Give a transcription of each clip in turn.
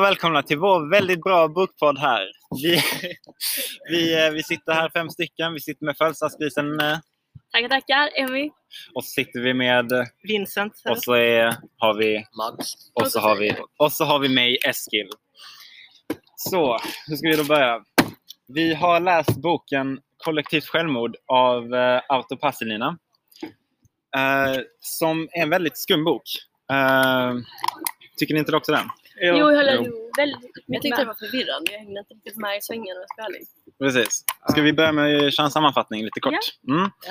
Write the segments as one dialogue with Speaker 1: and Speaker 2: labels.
Speaker 1: välkomna till vår väldigt bra bokpodd här. Vi, vi, eh, vi sitter här fem stycken. Vi sitter med födelsedagsgrisen eh,
Speaker 2: Tackar, tackar. Emmy.
Speaker 1: och så sitter vi med eh,
Speaker 3: Vincent.
Speaker 1: och så är, har vi
Speaker 4: Max.
Speaker 1: och så har vi
Speaker 4: Alltså,
Speaker 1: och så har vi mig Eskil. Så, hur ska vi då börja? Vi har läst boken Kollektivt självmord av eh, Arto Passelina. Eh, som är en väldigt skum bok. Eh, tycker ni inte också den?
Speaker 2: Jo, jag håller väldigt
Speaker 3: Jag
Speaker 2: mycket
Speaker 3: tyckte
Speaker 2: med.
Speaker 3: det var förvirrande. Jag hängde inte riktigt med i svängen om jag ska vara ärlig.
Speaker 1: Precis. Ska vi börja med att köra en sammanfattning lite kort? Mm.
Speaker 3: Ja.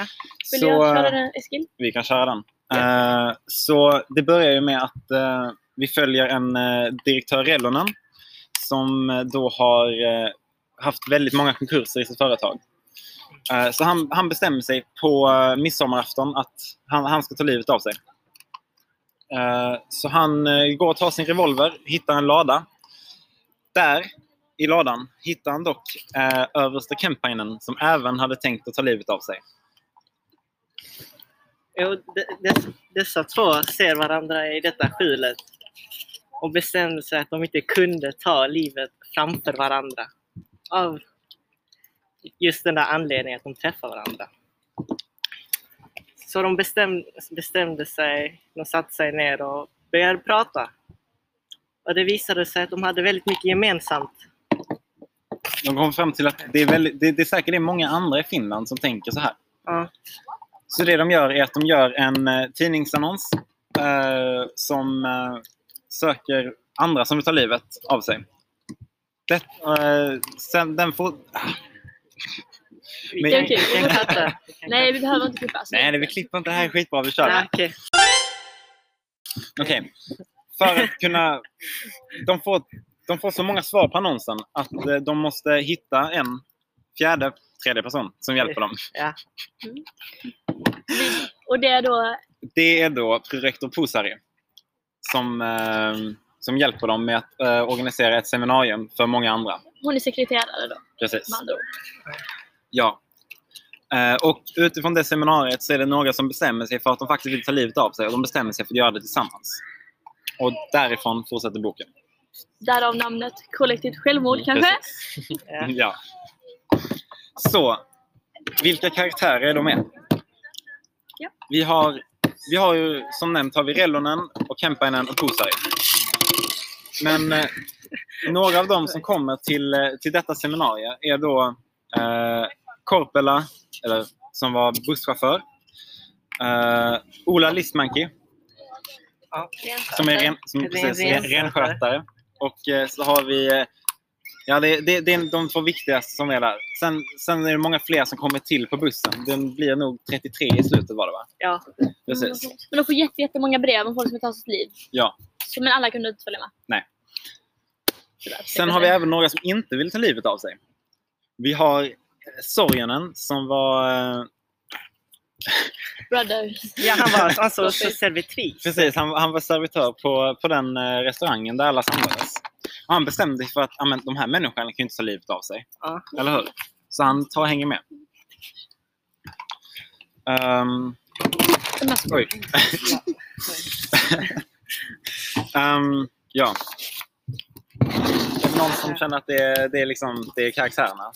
Speaker 2: Vill
Speaker 1: Så,
Speaker 2: jag köra
Speaker 1: eh,
Speaker 2: den, Eskil?
Speaker 1: Vi kan köra den. Eh, så det börjar ju med att eh, vi följer en eh, direktör Rellonen som eh, då har eh, haft väldigt många konkurser i sitt företag. Eh, så han, han bestämmer sig på eh, midsommarafton att han, han ska ta livet av sig. Eh, så han eh, går och tar sin revolver, hittar en lada. Där i ladan hittar han dock eh, överste Kemppainen som även hade tänkt att ta livet av sig.
Speaker 5: Jo, de, de, dessa två ser varandra i detta skjulet och bestämde sig att de inte kunde ta livet framför varandra. Av just den där anledningen att de träffar varandra. Så de bestäm, bestämde sig, de satte sig ner och började prata. Och det visade sig att de hade väldigt mycket gemensamt.
Speaker 1: De kom fram till att det är, väldigt, det, det är säkert det är många andra i Finland som tänker så här.
Speaker 5: Ja.
Speaker 1: Så det de gör är att de gör en eh, tidningsannons eh, som eh, söker andra som vill ta livet av sig. Det, eh, sen, den får,
Speaker 5: Vi
Speaker 1: Men-
Speaker 5: kan-
Speaker 2: Okej,
Speaker 5: vi kan
Speaker 2: vi får
Speaker 5: fatta.
Speaker 2: Nej, vi behöver inte klippa.
Speaker 1: nej, nej, vi klipper inte. Det här är skitbra. Vi kör.
Speaker 5: Ja, okej.
Speaker 1: Okej. För att kunna... De får, de får så många svar på annonsen att eh, de måste hitta en fjärde, tredje person som hjälper dem.
Speaker 2: Och det är då...
Speaker 1: Det är då prorektor Pusari som, eh, som hjälper dem med att eh, organisera ett seminarium för många andra.
Speaker 2: Hon är sekreterare då,
Speaker 1: Precis.
Speaker 2: med andra ord.
Speaker 1: Ja. Eh, och utifrån det seminariet så är det några som bestämmer sig för att de faktiskt vill ta livet av sig och de bestämmer sig för att göra det tillsammans. Och därifrån fortsätter boken.
Speaker 2: Därav namnet kollektivt självmord kanske?
Speaker 5: Ja.
Speaker 1: Ja. Så, vilka karaktärer är de med?
Speaker 2: Ja.
Speaker 1: Vi har, vi har ju som nämnt har vi Rellonen, och Kemppainen och Kusari. Men eh, några av dem som kommer till, eh, till detta seminarium är då eh, Korpela, eller, som var busschaufför. Eh, Ola Listmanki,
Speaker 5: Ja.
Speaker 1: som är,
Speaker 2: Eh,
Speaker 1: ren, som,
Speaker 5: Det är
Speaker 1: precis,
Speaker 5: en
Speaker 1: ren, renskötare. Och eh, så har vi... eh, Ja, det, det, det är de två viktigaste som är där. Sen, sen är det många fler som kommer till på bussen. Den blir nog 33 i slutet var det va?
Speaker 5: Ja.
Speaker 1: Precis.
Speaker 2: Men de får jätte- jättemånga brev om folk som tar sitt liv.
Speaker 1: Ja.
Speaker 2: Så, men alla kunde inte följa med.
Speaker 1: Nej.
Speaker 2: Tyvärr,
Speaker 1: Sen har vi även några som inte vill ta livet av sig. Vi har eh, Sorgenen som var... eh,
Speaker 2: Brothers.
Speaker 5: ja, han var alltså också servitris.
Speaker 1: Precis, han, han var servitör på, på den eh, restaurangen där alla samlades. Och han bestämde sig för att ja, men, de här människorna kan ju inte ta livet av sig.
Speaker 5: Ja.
Speaker 1: Eller hur? Så han tar och hänger med. Ehm,
Speaker 2: De här små-
Speaker 1: Oj. Ehm, ja. Är det någon som känner att det är, det är, liksom, det är karaktärerna?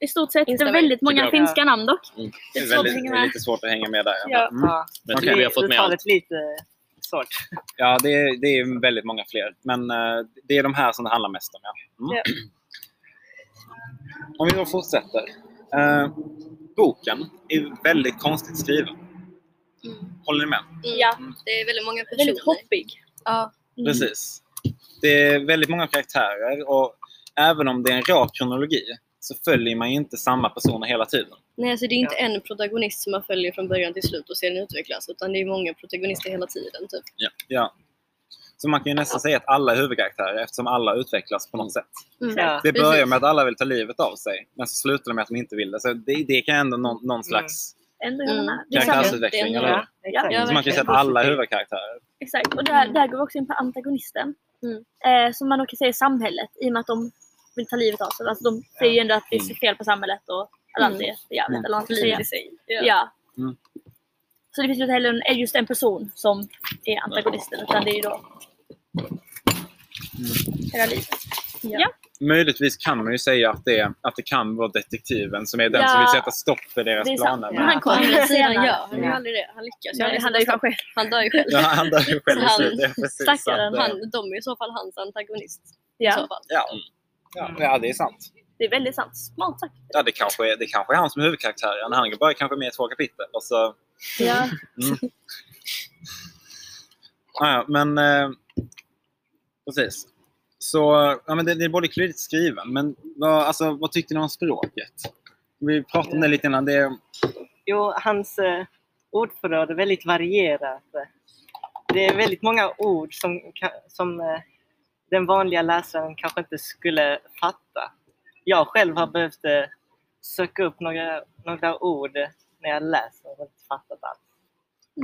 Speaker 2: I stort sett. Det är
Speaker 3: Instagram.
Speaker 2: väldigt många
Speaker 4: Tycker
Speaker 5: jag.
Speaker 2: finska namn dock.
Speaker 1: Det är,
Speaker 2: svårt att
Speaker 1: väldigt,
Speaker 2: hänga
Speaker 1: det är
Speaker 2: med.
Speaker 1: lite svårt att hänga med där.
Speaker 2: Ja.
Speaker 1: Mm.
Speaker 5: Ja.
Speaker 4: Men jag tycker vi har fått med allt.
Speaker 5: Uttalet lite svårt.
Speaker 1: Ja, det är, det är väldigt många fler. Men eh, det är de här som det handlar mest om. Ja. Mm. Om vi då fortsätter. Eh, boken är väldigt konstigt skriven. Håller ni med?
Speaker 2: Ja.
Speaker 3: Det är väldigt många personer.
Speaker 2: Väldigt hoppig.
Speaker 3: Ja.
Speaker 2: Mm.
Speaker 1: Precis. Det är väldigt många karaktärer och även om det är en rak kronologi så följer man ju inte samma personer hela tiden.
Speaker 3: Nej, alltså det är inte en protagonist som man följer från början till slut och ser den utvecklas. Utan det är många protagonister hela tiden. Typ.
Speaker 1: Ja. Så man kan ju nästan säga att alla är huvudkaraktärer eftersom alla utvecklas på något sätt.
Speaker 2: Mm.
Speaker 5: Ja.
Speaker 1: Det
Speaker 3: Precis.
Speaker 1: börjar med att alla vill ta livet av sig, men så slutar det med att de inte vill det. Så det, det kan ändå någon, någon slags
Speaker 2: Ändå gör de här. Det är sant.
Speaker 1: karaktärsutveckling.
Speaker 3: Det är
Speaker 1: Mm. Eller? hur?
Speaker 5: Ja, exakt.
Speaker 3: Ja,
Speaker 1: så man kan ju säga att alla är huvudkaraktärer.
Speaker 2: Exakt, och där, där går vi också in på antagonisten.
Speaker 3: Mm.
Speaker 2: Eh, som man då kan säga i samhället, i och med att de vill ta livet av sig. Alltså, de säger ju ändå att det är fel på samhället och alla andra är jävligt.
Speaker 1: Mm.
Speaker 2: Eller vad man ska säga.
Speaker 3: sig.
Speaker 2: Ja.
Speaker 3: Ja.
Speaker 1: Mm.
Speaker 2: Så det finns ju inte heller en- är just en person som är antagonisten, utan det är ju då
Speaker 1: Mm.
Speaker 2: hela livet.
Speaker 1: Möjligtvis kan man ju säga att det, är- att det kan vara detektiven som är den
Speaker 2: Ja.
Speaker 1: som vill sätta stopp för deras
Speaker 2: Det är sant.
Speaker 1: planer.
Speaker 3: Men han kommer
Speaker 2: Ja.
Speaker 3: vid sidan, ja. Han
Speaker 1: Ja.
Speaker 3: gör aldrig det. Han lyckas ju
Speaker 2: Men
Speaker 3: aldrig.
Speaker 2: han dör ju fan själv.
Speaker 3: Han dör ju själv.
Speaker 1: Ja, han dör ju själv i
Speaker 3: Han-
Speaker 1: slutet. ja, precis. Så att,
Speaker 2: stackaren,
Speaker 1: eh,
Speaker 3: Han, de är i så fall hans antagonist. I så
Speaker 2: Ja,
Speaker 3: fall.
Speaker 1: Ja, ja, ja, det är sant.
Speaker 2: det är väldigt sant. Smart sagt.
Speaker 1: Ja, det, kanske är, det kanske är han som är huvudkaraktären. Han är bara kanske med i två kapitel. Och så,
Speaker 2: Ja.
Speaker 1: ja, ja, men eh, precis. Så ja, men det, det är både klurigt skriven, men vad, alltså, vad tyckte ni om språket? Vi pratade om det lite innan. Det är,
Speaker 5: Jo, hans eh, ordförråd är väldigt varierat. Det är väldigt många ord som, ka- som eh, den vanliga läsaren kanske inte skulle fatta. Jag själv har behövt eh, söka upp några, några ord när jag läser och inte fattat allt.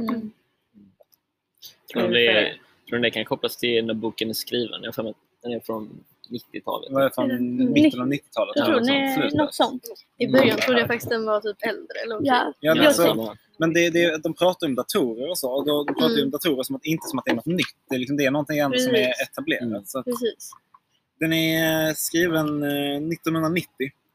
Speaker 2: Mm.
Speaker 4: Tror ni det, tror ni det kan kopplas till när boken är skriven? Jag har för mig att den är från 90-talet.
Speaker 1: vad är det från mitten av alltså, 90-talet?
Speaker 2: Jag tror
Speaker 1: eller något
Speaker 2: ni
Speaker 1: sånt,
Speaker 2: något
Speaker 1: slutet.
Speaker 2: sånt.
Speaker 3: I början trodde jag faktiskt den var typ äldre. Eller någonting.
Speaker 2: Ja.
Speaker 1: Ja, men,
Speaker 2: Jag
Speaker 1: alltså,
Speaker 2: tror-
Speaker 1: men det, det, de pratar om datorer och så. Och då, de pratar
Speaker 2: Mm.
Speaker 1: ju om datorer som att, inte som att det är något nytt. Det är, liksom, det är någonting annat som är
Speaker 3: Precis.
Speaker 1: etablerat.
Speaker 4: Mm.
Speaker 1: Så att,
Speaker 3: Precis.
Speaker 1: den är skriven eh, 1990.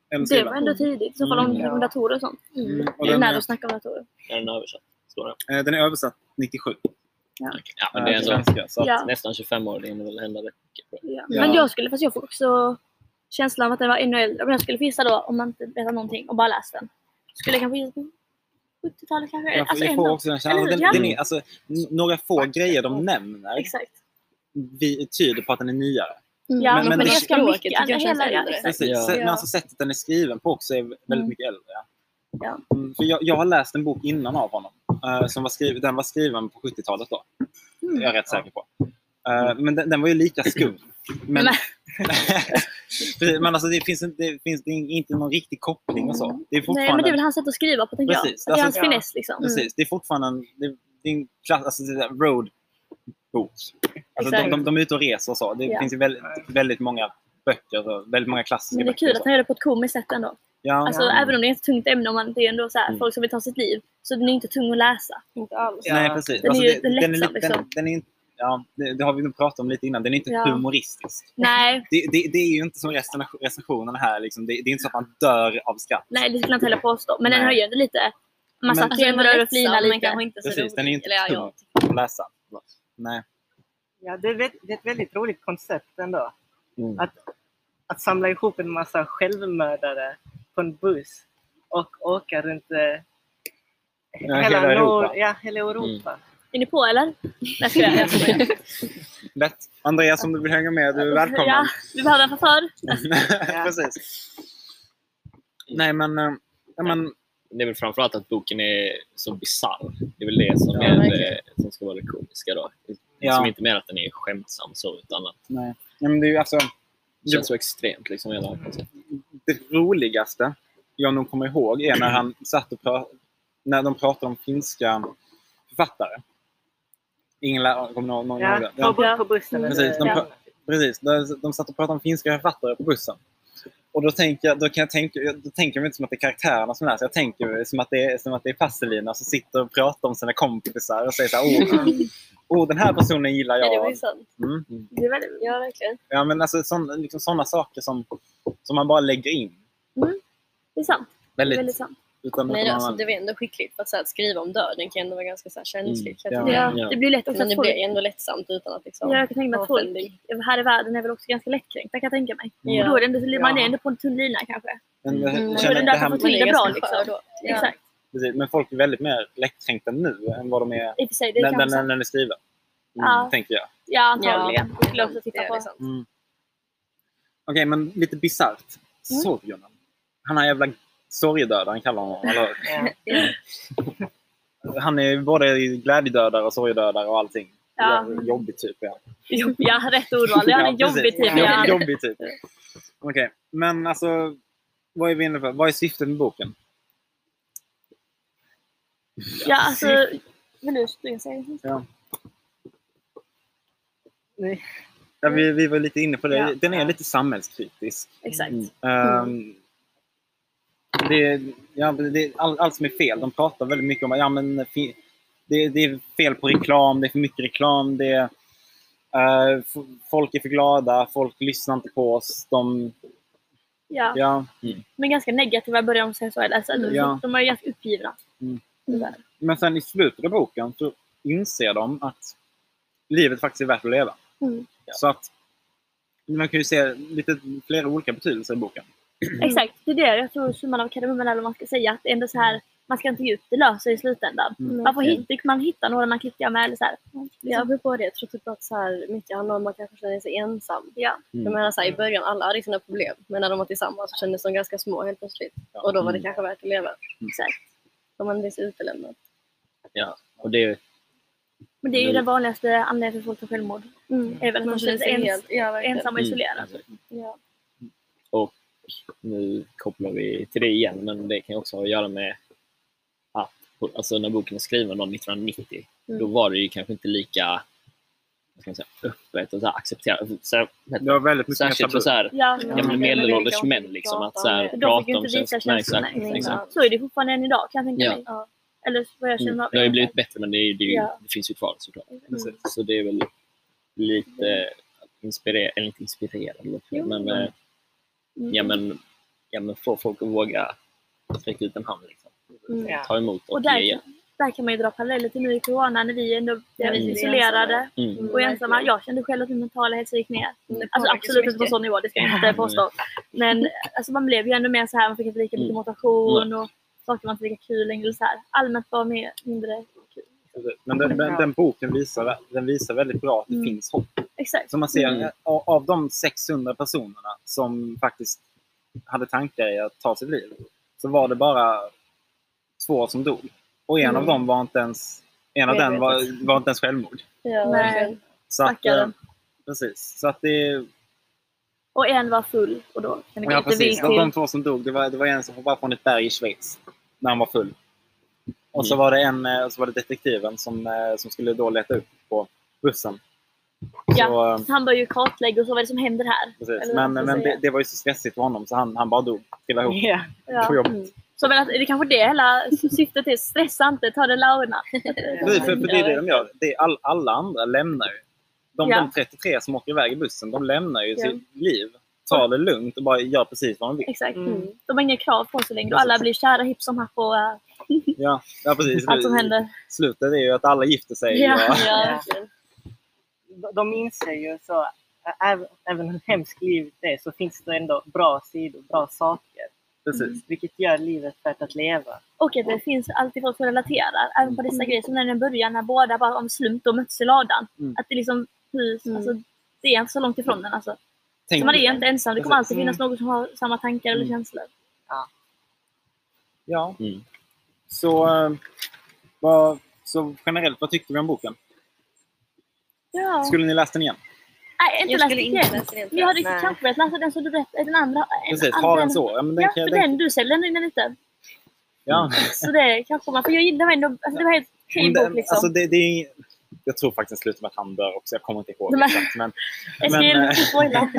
Speaker 1: Eller
Speaker 2: Det var ändå tidigt. I så fall om,
Speaker 1: Mm.
Speaker 2: om datorer och sånt.
Speaker 1: Mm, och
Speaker 2: Det är
Speaker 1: den,
Speaker 2: när de snackar om datorer.
Speaker 4: Är den översatt? Står det?
Speaker 1: eh, den är översatt 97.
Speaker 4: Okej. Ja, men
Speaker 1: eh,
Speaker 4: det är
Speaker 1: till
Speaker 4: ändå
Speaker 1: svenska. Så att,
Speaker 2: Ja.
Speaker 4: nästan 25 år. Det hinner väl hända rätt mycket. tror jag.
Speaker 2: Ja.
Speaker 1: Ja.
Speaker 2: Men jag skulle, fast jag får också känslan av att den var ännu äldre. Men jag skulle få gissa då, om man inte vet någonting, och bara läst den. Skulle jag kanske gissa på 70-talet kanske?
Speaker 1: Jag, får-
Speaker 2: alltså
Speaker 1: jag
Speaker 2: ändå.
Speaker 1: får också den känslan.
Speaker 2: Eller
Speaker 1: Den,
Speaker 2: hur? Ja.
Speaker 1: den är, alltså, n- några få grejer de nämner
Speaker 2: Exakt.
Speaker 1: vi, tyder på att den är nyare.
Speaker 2: Ja,
Speaker 1: Men-
Speaker 2: men,
Speaker 1: men
Speaker 2: det
Speaker 1: det-
Speaker 2: är ganska mycket.
Speaker 3: Mm.
Speaker 2: Alltså,
Speaker 3: språket tycker
Speaker 2: hela-
Speaker 3: jag känns
Speaker 2: ja,
Speaker 3: äldre.
Speaker 2: exakt.
Speaker 1: Precis.
Speaker 4: Ja.
Speaker 1: Se- Men
Speaker 3: Ja.
Speaker 1: alltså, sättet den är skriven på också är väldigt
Speaker 2: Mm.
Speaker 1: mycket äldre. ja.
Speaker 2: Ja.
Speaker 1: Mm, För jag, jag har läst en bok innan av honom. eh, som var skriven, den var skriven på 70-talet då.
Speaker 2: Mm.
Speaker 1: Jag är rätt säker på. Eh, men den, den var ju lika skum. Men,
Speaker 2: Nej.
Speaker 1: Precis, men alltså, det finns, inte- det finns det är inte någon riktig koppling och så. Det är fortfarande
Speaker 2: Nej, men det är väl hans sätt att skriva på, tänker
Speaker 1: Precis.
Speaker 2: jag. Att Det är hans
Speaker 1: Alltså,
Speaker 2: finess liksom.
Speaker 1: Precis, det är fortfarande en, det, det är en klass, alltså det där road bok. Alltså de,
Speaker 2: Exakt.
Speaker 1: de, de är ute och reser och så. Det
Speaker 2: Ja.
Speaker 1: finns ju väldigt, väldigt många böcker, och väldigt många klassiska
Speaker 2: Mm. Men det är
Speaker 1: böcker.
Speaker 2: kul
Speaker 1: och
Speaker 2: att
Speaker 1: så.
Speaker 2: han gör det på ett komiskt sätt ändå.
Speaker 1: ja,
Speaker 2: Alltså,
Speaker 1: ja.
Speaker 2: Även om det är ett tungt ämne, om man, det är ändå så här,
Speaker 4: Mm.
Speaker 2: folk som vill ta sitt liv. Så den är inte tung att
Speaker 1: Mm.
Speaker 2: läsa.
Speaker 3: Inte alls.
Speaker 5: Ja.
Speaker 1: Nej, precis. Alltså,
Speaker 2: den är ju
Speaker 1: det-
Speaker 2: lite lättsam,
Speaker 1: lite- den,
Speaker 2: liksom.
Speaker 1: den är inte- Ja, det, det har vi nog pratat om lite innan. Den är inte
Speaker 2: Ja.
Speaker 1: humoristisk.
Speaker 2: Nej,
Speaker 1: Det, det, det är ju inte som resten, recensionerna här. Liksom. Det, det är inte så att man dör av skratt.
Speaker 2: nej, det skulle jag inte heller påstå. Men den
Speaker 1: Nej.
Speaker 2: har ju ändå lite... Man
Speaker 1: Men-
Speaker 2: satt
Speaker 3: Alltså,
Speaker 2: ju ändå där och flinade
Speaker 3: men
Speaker 2: lite.
Speaker 3: kanske inte så
Speaker 1: Precis,
Speaker 3: rolig.
Speaker 1: den är inte
Speaker 3: Eller, ja,
Speaker 1: tung
Speaker 3: jag-
Speaker 1: att läsa. Nej.
Speaker 5: Ja, det, är, vä- det är ett väldigt roligt koncept ändå.
Speaker 4: Mm.
Speaker 5: Att, att samla ihop en massa självmördare på en buss och åka runt eh,
Speaker 1: Ja,
Speaker 5: hela,
Speaker 1: hela
Speaker 5: Nor-
Speaker 1: Europa. Mm.
Speaker 5: ja, hela Europa.
Speaker 2: Är ni på eller? Nej,
Speaker 3: Alltså,
Speaker 2: ska jag.
Speaker 1: Lätt. Andreas, om du vill hänga med, du är välkommen.
Speaker 2: Ja, vi behöver en chaufför.
Speaker 1: Precis. Nej men, eh, ja, men
Speaker 4: Det är väl framförallt att boken är så bisarr. Det är väl det som,
Speaker 1: Ja,
Speaker 4: är
Speaker 3: verkligen.
Speaker 4: det, som ska vara det komiska. Då.
Speaker 1: Ja.
Speaker 4: Som inte mer att den är skämtsam så, utan att
Speaker 1: nej. nej, men det är ju alltså
Speaker 4: det känns så extremt. Liksom, hela konceptet.
Speaker 1: det roligaste jag nog kommer ihåg är när han satt och pra- när de pratade om finska författare. Ingela, kommer någon, någon ihåg
Speaker 5: Ja,
Speaker 1: det?
Speaker 5: på,
Speaker 1: Ja,
Speaker 5: bu- på bussen.
Speaker 1: Precis,
Speaker 5: eller-
Speaker 1: de
Speaker 5: ja.
Speaker 1: pra- precis. De- De satt och pratade om finska författare på bussen. Och då tänker jag, då kan jag tänka, jag- då tänker jag inte som att det är karaktärerna som läser. Jag tänker som att det är, som att det är Passelina som sitter och pratar om sina kompisar och säger så här, åh, åh den här personen gillar
Speaker 3: Nej, det var
Speaker 1: jag.
Speaker 3: ju sant.
Speaker 1: Mm.
Speaker 2: Det är väldigt...
Speaker 3: Ja, verkligen.
Speaker 1: Ja, men alltså sådana liksom, såna saker som, som man bara lägger in.
Speaker 2: Det är sant. Det är
Speaker 1: Väldigt,
Speaker 2: väldigt sant.
Speaker 1: utan
Speaker 3: Nej,
Speaker 1: utan
Speaker 3: alltså,
Speaker 1: man-
Speaker 3: det var ändå skickligt. För att, så här, att skriva om döden kan ändå vara ganska så här, känsligt.
Speaker 1: Mm,
Speaker 3: kan
Speaker 1: ja.
Speaker 3: jag tycka.
Speaker 2: Ja, det blir lätt också
Speaker 3: Men
Speaker 2: att
Speaker 3: det
Speaker 2: folk...
Speaker 3: blir ändå lättsamt utan att liksom...
Speaker 2: Ja, jag kan tänka mig att folk
Speaker 3: Avfällig.
Speaker 2: här i världen är väl också ganska lättkränkta kan jag tänka mig.
Speaker 3: Ja.
Speaker 2: Och då är det ändå, man är
Speaker 5: Ja.
Speaker 2: ändå på en tunn lina kanske.
Speaker 1: men, jag
Speaker 3: Mm.
Speaker 1: känner
Speaker 2: Men den
Speaker 1: det
Speaker 2: där
Speaker 1: här,
Speaker 2: får
Speaker 3: Man
Speaker 2: till det bra
Speaker 3: ganska skör
Speaker 2: liksom.
Speaker 3: då. Ja.
Speaker 2: Exakt.
Speaker 1: precis, men folk är väldigt mer lättkränkta nu än vad de är
Speaker 2: I och för sig, det
Speaker 1: när,
Speaker 2: är
Speaker 1: när,
Speaker 2: kanske
Speaker 1: när
Speaker 2: sant.
Speaker 1: den är skriven. Mm,
Speaker 2: Ja.
Speaker 1: Tänker jag.
Speaker 2: Ja, antagligen.
Speaker 3: Ja,
Speaker 2: Jag skulle också titta
Speaker 3: det är
Speaker 2: på.
Speaker 3: det sant.
Speaker 1: Mm. Okej, men lite bisarrt.
Speaker 2: Mm.
Speaker 1: Såg du honom? Han är jävla sorgedödaren kallar han honom. Eller?
Speaker 5: Ja.
Speaker 1: hur? Han är ju både glädjedödare och sorgedödare och allting.
Speaker 2: Ja.
Speaker 1: Jävla Jobbig typ. Ja.
Speaker 2: Ja, rätt ordval. Ja, en
Speaker 1: Ja,
Speaker 2: jobbig
Speaker 1: precis.
Speaker 2: typ.
Speaker 1: Jobb-
Speaker 2: Ja.
Speaker 1: Jobbig typ. Okej, men alltså vad är vi inne på? Vad är syftet med boken?
Speaker 2: ja, alltså... Vill du springa och säga det?
Speaker 1: Ja, vi, vi var lite inne på det.
Speaker 5: Ja.
Speaker 1: Den är lite samhällskritisk.
Speaker 2: Exakt.
Speaker 4: Mm.
Speaker 1: Ehm, det, ja, det, all, allt som är fel. De pratar väldigt mycket om att ja, men, fi- det, det är fel på reklam, det är för mycket reklam, det är Eh, f- folk är för glada, folk lyssnar inte på oss. De,
Speaker 2: Ja.
Speaker 1: ja,
Speaker 2: Men ganska negativa i början om jag läser.
Speaker 1: Mm. Ja.
Speaker 2: alltså, De är ju ganska uppgivna.
Speaker 1: Mm.
Speaker 2: Tyvärr.
Speaker 1: men sen i slutet av boken så inser de att livet faktiskt är värt att leva.
Speaker 2: Mm.
Speaker 1: Så att man kan ju se lite flera olika betydelser i boken.
Speaker 2: Exakt, det är det jag tror summan av kardemumman eller vad man ska säga. Att det är ändå så här, man ska inte ge upp, det löser sig i slutändan.
Speaker 1: Mm.
Speaker 2: Man, får hitta, man hittar några man klickar med eller så här.
Speaker 3: Det beror på det. Jag tror typ att så här, mycket handlar om att man kanske känner sig ensam.
Speaker 2: Ja.
Speaker 1: Mm.
Speaker 3: Jag menar så här, i början alla hade sina problem. Men när de var tillsammans så kändes de ganska små helt plötsligt.
Speaker 1: Ja.
Speaker 3: Och då var det
Speaker 4: Mm.
Speaker 3: kanske värt att leva.
Speaker 2: Exakt.
Speaker 3: Då man blir så utelämnad.
Speaker 4: Och det är,
Speaker 2: Men det är ju
Speaker 4: Mm.
Speaker 2: den vanligaste anledningen till att folk tar självmord. Är väl att man känner sig ens,
Speaker 3: ja, verkligen.
Speaker 2: ensam och
Speaker 4: Mm.
Speaker 2: isolerad.
Speaker 3: Ja.
Speaker 4: nu kopplar vi till det igen, men det kan ju också ha att göra med att alltså när boken är skriven då, 1990,
Speaker 3: Mm.
Speaker 4: då var det ju kanske inte lika vad ska man säga, öppet och så här accepterat. Så här,
Speaker 1: Det var väldigt mycket mer
Speaker 4: särskilt för
Speaker 1: tabu.
Speaker 4: så här,
Speaker 2: Ja,
Speaker 3: Ja,
Speaker 4: ja,
Speaker 3: men
Speaker 4: men
Speaker 3: det
Speaker 4: medelålders
Speaker 3: kan man
Speaker 4: män
Speaker 3: inte
Speaker 4: liksom,
Speaker 3: prata
Speaker 4: att så här,
Speaker 3: om.
Speaker 2: De
Speaker 4: prata
Speaker 2: fick ju
Speaker 4: om
Speaker 2: inte visa
Speaker 4: känslor. Nej, exakt.
Speaker 2: känslorna.
Speaker 4: exakt.
Speaker 3: nej, exakt.
Speaker 2: Mm. Så är det fortfarande än idag kan jag tänka
Speaker 4: Ja.
Speaker 2: mig.
Speaker 3: Ja.
Speaker 2: Eller vad jag känner
Speaker 4: Mm.
Speaker 2: av
Speaker 4: Det har ju blivit bättre, men det, är, det, är ju,
Speaker 2: Ja.
Speaker 4: det finns ju kvar såklart.
Speaker 1: Precis.
Speaker 4: Så det är väl lite inspirerande, eller inte inspirerande, låter fel,
Speaker 3: Jo.
Speaker 4: men, eh,
Speaker 2: Mm.
Speaker 4: ja, men, ja, men få folk att våga sträcka ut en hand. Liksom.
Speaker 3: Mm.
Speaker 5: Ja.
Speaker 4: Ta emot och,
Speaker 2: Och
Speaker 4: ge
Speaker 2: där,
Speaker 4: hjälp.
Speaker 2: kan- där kan man ju dra paralleller till nu i corona när vi ändå blev
Speaker 3: vi
Speaker 4: blev
Speaker 2: isolerade
Speaker 4: Mm.
Speaker 2: och ensamma. Jag kände själv att min mentala hälsa gick ner.
Speaker 3: Mm, Det
Speaker 2: Alltså
Speaker 3: påverkar
Speaker 2: absolut
Speaker 3: så
Speaker 2: inte på
Speaker 3: mycket.
Speaker 2: sån nivå, det ska jag inte påstå. Men alltså, man blev ju ändå mer så här, man fick inte lika mycket
Speaker 4: Mm.
Speaker 2: motivation och saker var inte lika kul längre. eller Så här. Allmänt var mer, mindre kul.
Speaker 1: Men den, den, den boken visar, den visar väldigt bra att det
Speaker 2: Mm.
Speaker 1: finns hopp.
Speaker 2: Exakt.
Speaker 1: Så man ser
Speaker 4: Mm.
Speaker 1: av, av de 600 personerna som faktiskt hade tankar i att ta sitt liv så var det bara två som dog. Och en
Speaker 3: Mm.
Speaker 1: av dem var inte ens, en av den var,
Speaker 3: Medvetet.
Speaker 1: var inte ens självmord.
Speaker 2: Nej.
Speaker 3: Ja, verkligen.
Speaker 1: Så att,
Speaker 2: Stackaren.
Speaker 1: eh, precis. Så att det är...
Speaker 2: Och en var full och då kan det gå
Speaker 1: Ja,
Speaker 2: lite
Speaker 1: precis.
Speaker 2: vind
Speaker 1: De,
Speaker 2: till.
Speaker 1: de två som dog, det var, det var en som hoppade från ett berg i Schweiz när han var full. Och så
Speaker 4: Mm.
Speaker 1: var det en, eh, så var det detektiven som, eh, som skulle då leta upp på bussen. Så,
Speaker 2: Ja,
Speaker 1: eh,
Speaker 2: han började ju kartlägga och så vad är det som händer här.
Speaker 1: Precis.
Speaker 2: Eller vad
Speaker 1: Men,
Speaker 2: man ska
Speaker 1: men det,
Speaker 2: säga.
Speaker 1: det var ju så stressigt för honom så han, han bara dog. Trillade ihop Mm.
Speaker 5: Ja.
Speaker 1: på
Speaker 2: Ja.
Speaker 1: jobbet.
Speaker 2: Så men att, det är kanske det hela syftet är. Stressa inte, ta det lugna.
Speaker 1: Nej, för, för det är
Speaker 3: Ja.
Speaker 1: det de gör. Det är all, alla andra lämnar ju. De,
Speaker 2: Ja.
Speaker 1: de 33 som åker iväg i bussen, de lämnar ju
Speaker 2: Ja.
Speaker 1: sitt liv. Tar det lugnt och bara gör precis vad de vill.
Speaker 2: Exakt.
Speaker 3: Mm.
Speaker 2: De har inga krav på sig längre och alla blir kära hipp som happ och eh,
Speaker 1: Ja, ja precis.
Speaker 2: allt som händer.
Speaker 1: Slutet är ju att alla gifter sig.
Speaker 2: Ja.
Speaker 1: och-
Speaker 3: Ja, verkligen.
Speaker 5: de- de inser ju så, även, även hur hemskt livet är, så finns det ändå bra sidor, bra saker.
Speaker 1: Precis. Mm.
Speaker 5: Vilket gör livet värt att leva.
Speaker 2: Och att det finns alltid folk som relaterar. Även på dessa grejer. Som när den början när båda bara om slump och möttes i ladan.
Speaker 1: Mm.
Speaker 2: Att det liksom hus,
Speaker 3: Mm.
Speaker 2: alltså, det är inte så långt ifrån en alltså.
Speaker 1: Tänk,
Speaker 2: Så man är inte ensam. Det kommer alltid
Speaker 5: Mm.
Speaker 2: finnas någon som har samma tankar eller
Speaker 1: Mm.
Speaker 2: känslor.
Speaker 1: ja.
Speaker 4: Mm.
Speaker 1: Så, eh, vad, så generellt, vad tyckte vi om boken?
Speaker 2: Ja.
Speaker 1: Skulle ni läsa den igen?
Speaker 2: Nej, inte
Speaker 3: Jag
Speaker 2: läst
Speaker 3: skulle inte
Speaker 2: igen.
Speaker 3: läsa det.
Speaker 2: Vi hade
Speaker 5: Nej.
Speaker 2: kanske börjat läsa den som du berättade, den andra. en
Speaker 1: Precis,
Speaker 2: annan-
Speaker 1: har den så. Ja, men den
Speaker 2: ja,
Speaker 1: kan jag-
Speaker 2: för
Speaker 1: den-
Speaker 2: den du säljer den innan inte.
Speaker 1: ja.
Speaker 2: Så det kanske man, för jag gillar ändå, alltså det var helt okej
Speaker 1: Men den-
Speaker 2: bok liksom.
Speaker 1: Alltså, det, det är, jag tror faktiskt den slutar med att han dör också. Jag kommer inte ihåg
Speaker 2: Nej, men-
Speaker 1: exakt. Men,
Speaker 2: jag ska
Speaker 1: men, eh,
Speaker 2: inte spoila.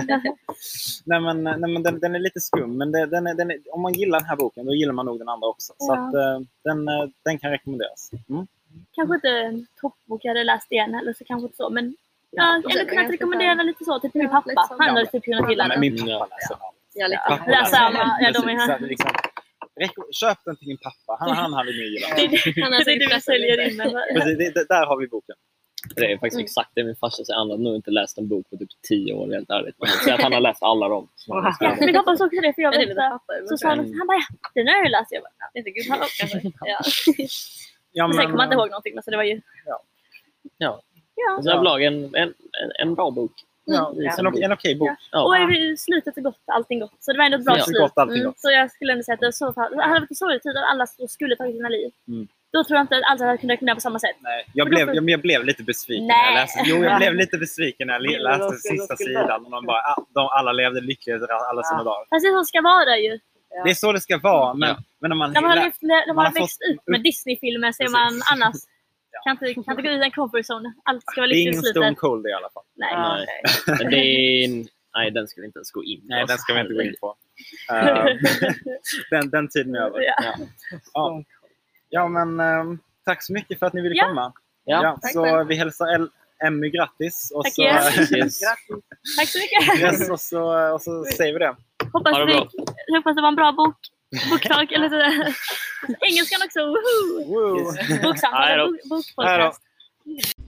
Speaker 1: Nej men, nej, men den, den är lite skum, men det, den är, den är, om man gillar den här boken då gillar man nog den andra också. Så
Speaker 2: Ja.
Speaker 1: att, eh, den, eh, den kan rekommenderas. Mm.
Speaker 2: kanske inte en toppbok jag hade läst igen eller så kanske inte så men ja,
Speaker 3: det
Speaker 2: eller
Speaker 3: var
Speaker 2: kunnat
Speaker 3: ganska
Speaker 2: rekommendera lite så, typ min
Speaker 3: Ja, lite
Speaker 2: pappa.
Speaker 3: så.
Speaker 2: Han hade typ kunnat gilla
Speaker 1: Men
Speaker 2: den.
Speaker 1: min pappa läser den.
Speaker 3: Ja, lite.
Speaker 1: Pappa
Speaker 2: Ja,
Speaker 1: läser den.
Speaker 2: samma. Ja, de är
Speaker 1: Precis.
Speaker 2: här.
Speaker 1: Så att det liksom, reko- köp den till din pappa, han, han hade nog gillat den.
Speaker 2: Det är det-
Speaker 3: Han
Speaker 2: det
Speaker 3: har
Speaker 2: är det
Speaker 3: säkert
Speaker 2: vi
Speaker 3: pressat lite.
Speaker 2: säljer typ in. men-
Speaker 1: Precis, det, det, där har vi boken.
Speaker 4: Det är faktiskt
Speaker 3: Mm.
Speaker 4: exakt det min farsa säger. Han har nog inte läst en bok på typ tio år helt ärligt. Men Så att han har läst alla dem. som han har
Speaker 2: Ja,
Speaker 4: skrivit.
Speaker 2: Min pappa sa också det för jag
Speaker 3: Men det är lite
Speaker 2: berättade.
Speaker 3: papper. men
Speaker 2: Så sa han,
Speaker 4: Mm.
Speaker 2: han bara ja, den har jag ju läst. Jag bara, ja.
Speaker 3: Lite gubbigt kanske. Ja.
Speaker 1: Ja,
Speaker 2: Men Sen kommer man inte
Speaker 1: eh,
Speaker 2: ihåg någonting men så det var ju
Speaker 4: Så överlag en, en, en, en bra bok.
Speaker 1: Ja,
Speaker 5: Ja.
Speaker 1: en, o- en okej bok.
Speaker 4: Ja.
Speaker 2: Och i slutet är gott, allting gott. Så det var ändå ett bra
Speaker 4: Ja.
Speaker 2: slut.
Speaker 1: Gott, allting
Speaker 2: Mm,
Speaker 1: gott.
Speaker 2: Så jag skulle ändå säga att det var så fall, hade det varit en sorglig tid och alla så skulle tagit sina liv.
Speaker 1: Mm.
Speaker 2: Då tror jag inte att alls hade kunnat rekommendera på samma sätt.
Speaker 1: Nej, jag,
Speaker 2: Men då
Speaker 1: blev,
Speaker 2: får-
Speaker 1: jag, jag blev lite besviken när jag
Speaker 2: Nej.
Speaker 1: läste Jo, jag blev lite besviken när jag le-
Speaker 5: Ja, de
Speaker 1: läste
Speaker 5: skulle- de
Speaker 1: sista
Speaker 5: skulle
Speaker 1: sidan. Och de bara, ah, de, alla levde lyckligt alla sina
Speaker 5: Ja.
Speaker 1: dagar.
Speaker 2: Fast det är så det ska vara ju.
Speaker 5: Ja.
Speaker 1: Det är så det ska vara, men,
Speaker 4: Ja.
Speaker 1: men när man,
Speaker 2: När man har,
Speaker 1: lä-
Speaker 2: lyft, när man
Speaker 1: man
Speaker 2: har
Speaker 1: har
Speaker 2: växt
Speaker 1: fått-
Speaker 2: ut med Disney-filmer så är
Speaker 1: Precis.
Speaker 2: man annars...
Speaker 1: Ja.
Speaker 2: Kan inte, kan inte gå ut i en comfort zone. Allt ska vara
Speaker 1: det är
Speaker 2: lyckligt i
Speaker 1: ingen Stone
Speaker 2: slutet.
Speaker 1: Cold i alla fall.
Speaker 2: Nej.
Speaker 5: Ja.
Speaker 4: Nej. Men det är en, nej, den ska vi inte ens gå in på.
Speaker 1: Nej, den ska vi inte gå in på. Eh, den, den tiden är över.
Speaker 2: Ja.
Speaker 1: Ja, ja men ehm, tack så mycket för att ni ville
Speaker 2: Ja.
Speaker 1: komma.
Speaker 4: Ja,
Speaker 1: så vi hälsar El- Emmy, grattis! Och
Speaker 2: Tack,
Speaker 1: så,
Speaker 2: yes.
Speaker 4: Yes.
Speaker 2: Tack så mycket!
Speaker 1: yes, och så, och så säger vi det.
Speaker 2: Hoppas,
Speaker 4: Ha det
Speaker 2: vi,
Speaker 4: bra.
Speaker 2: hoppas det var en bra bok. Boktag eller sådär. Engelskan också, woho!
Speaker 1: Woo.
Speaker 2: Boksamtal,
Speaker 4: Hej då.
Speaker 2: bok, bokpodcast.
Speaker 1: Hej då.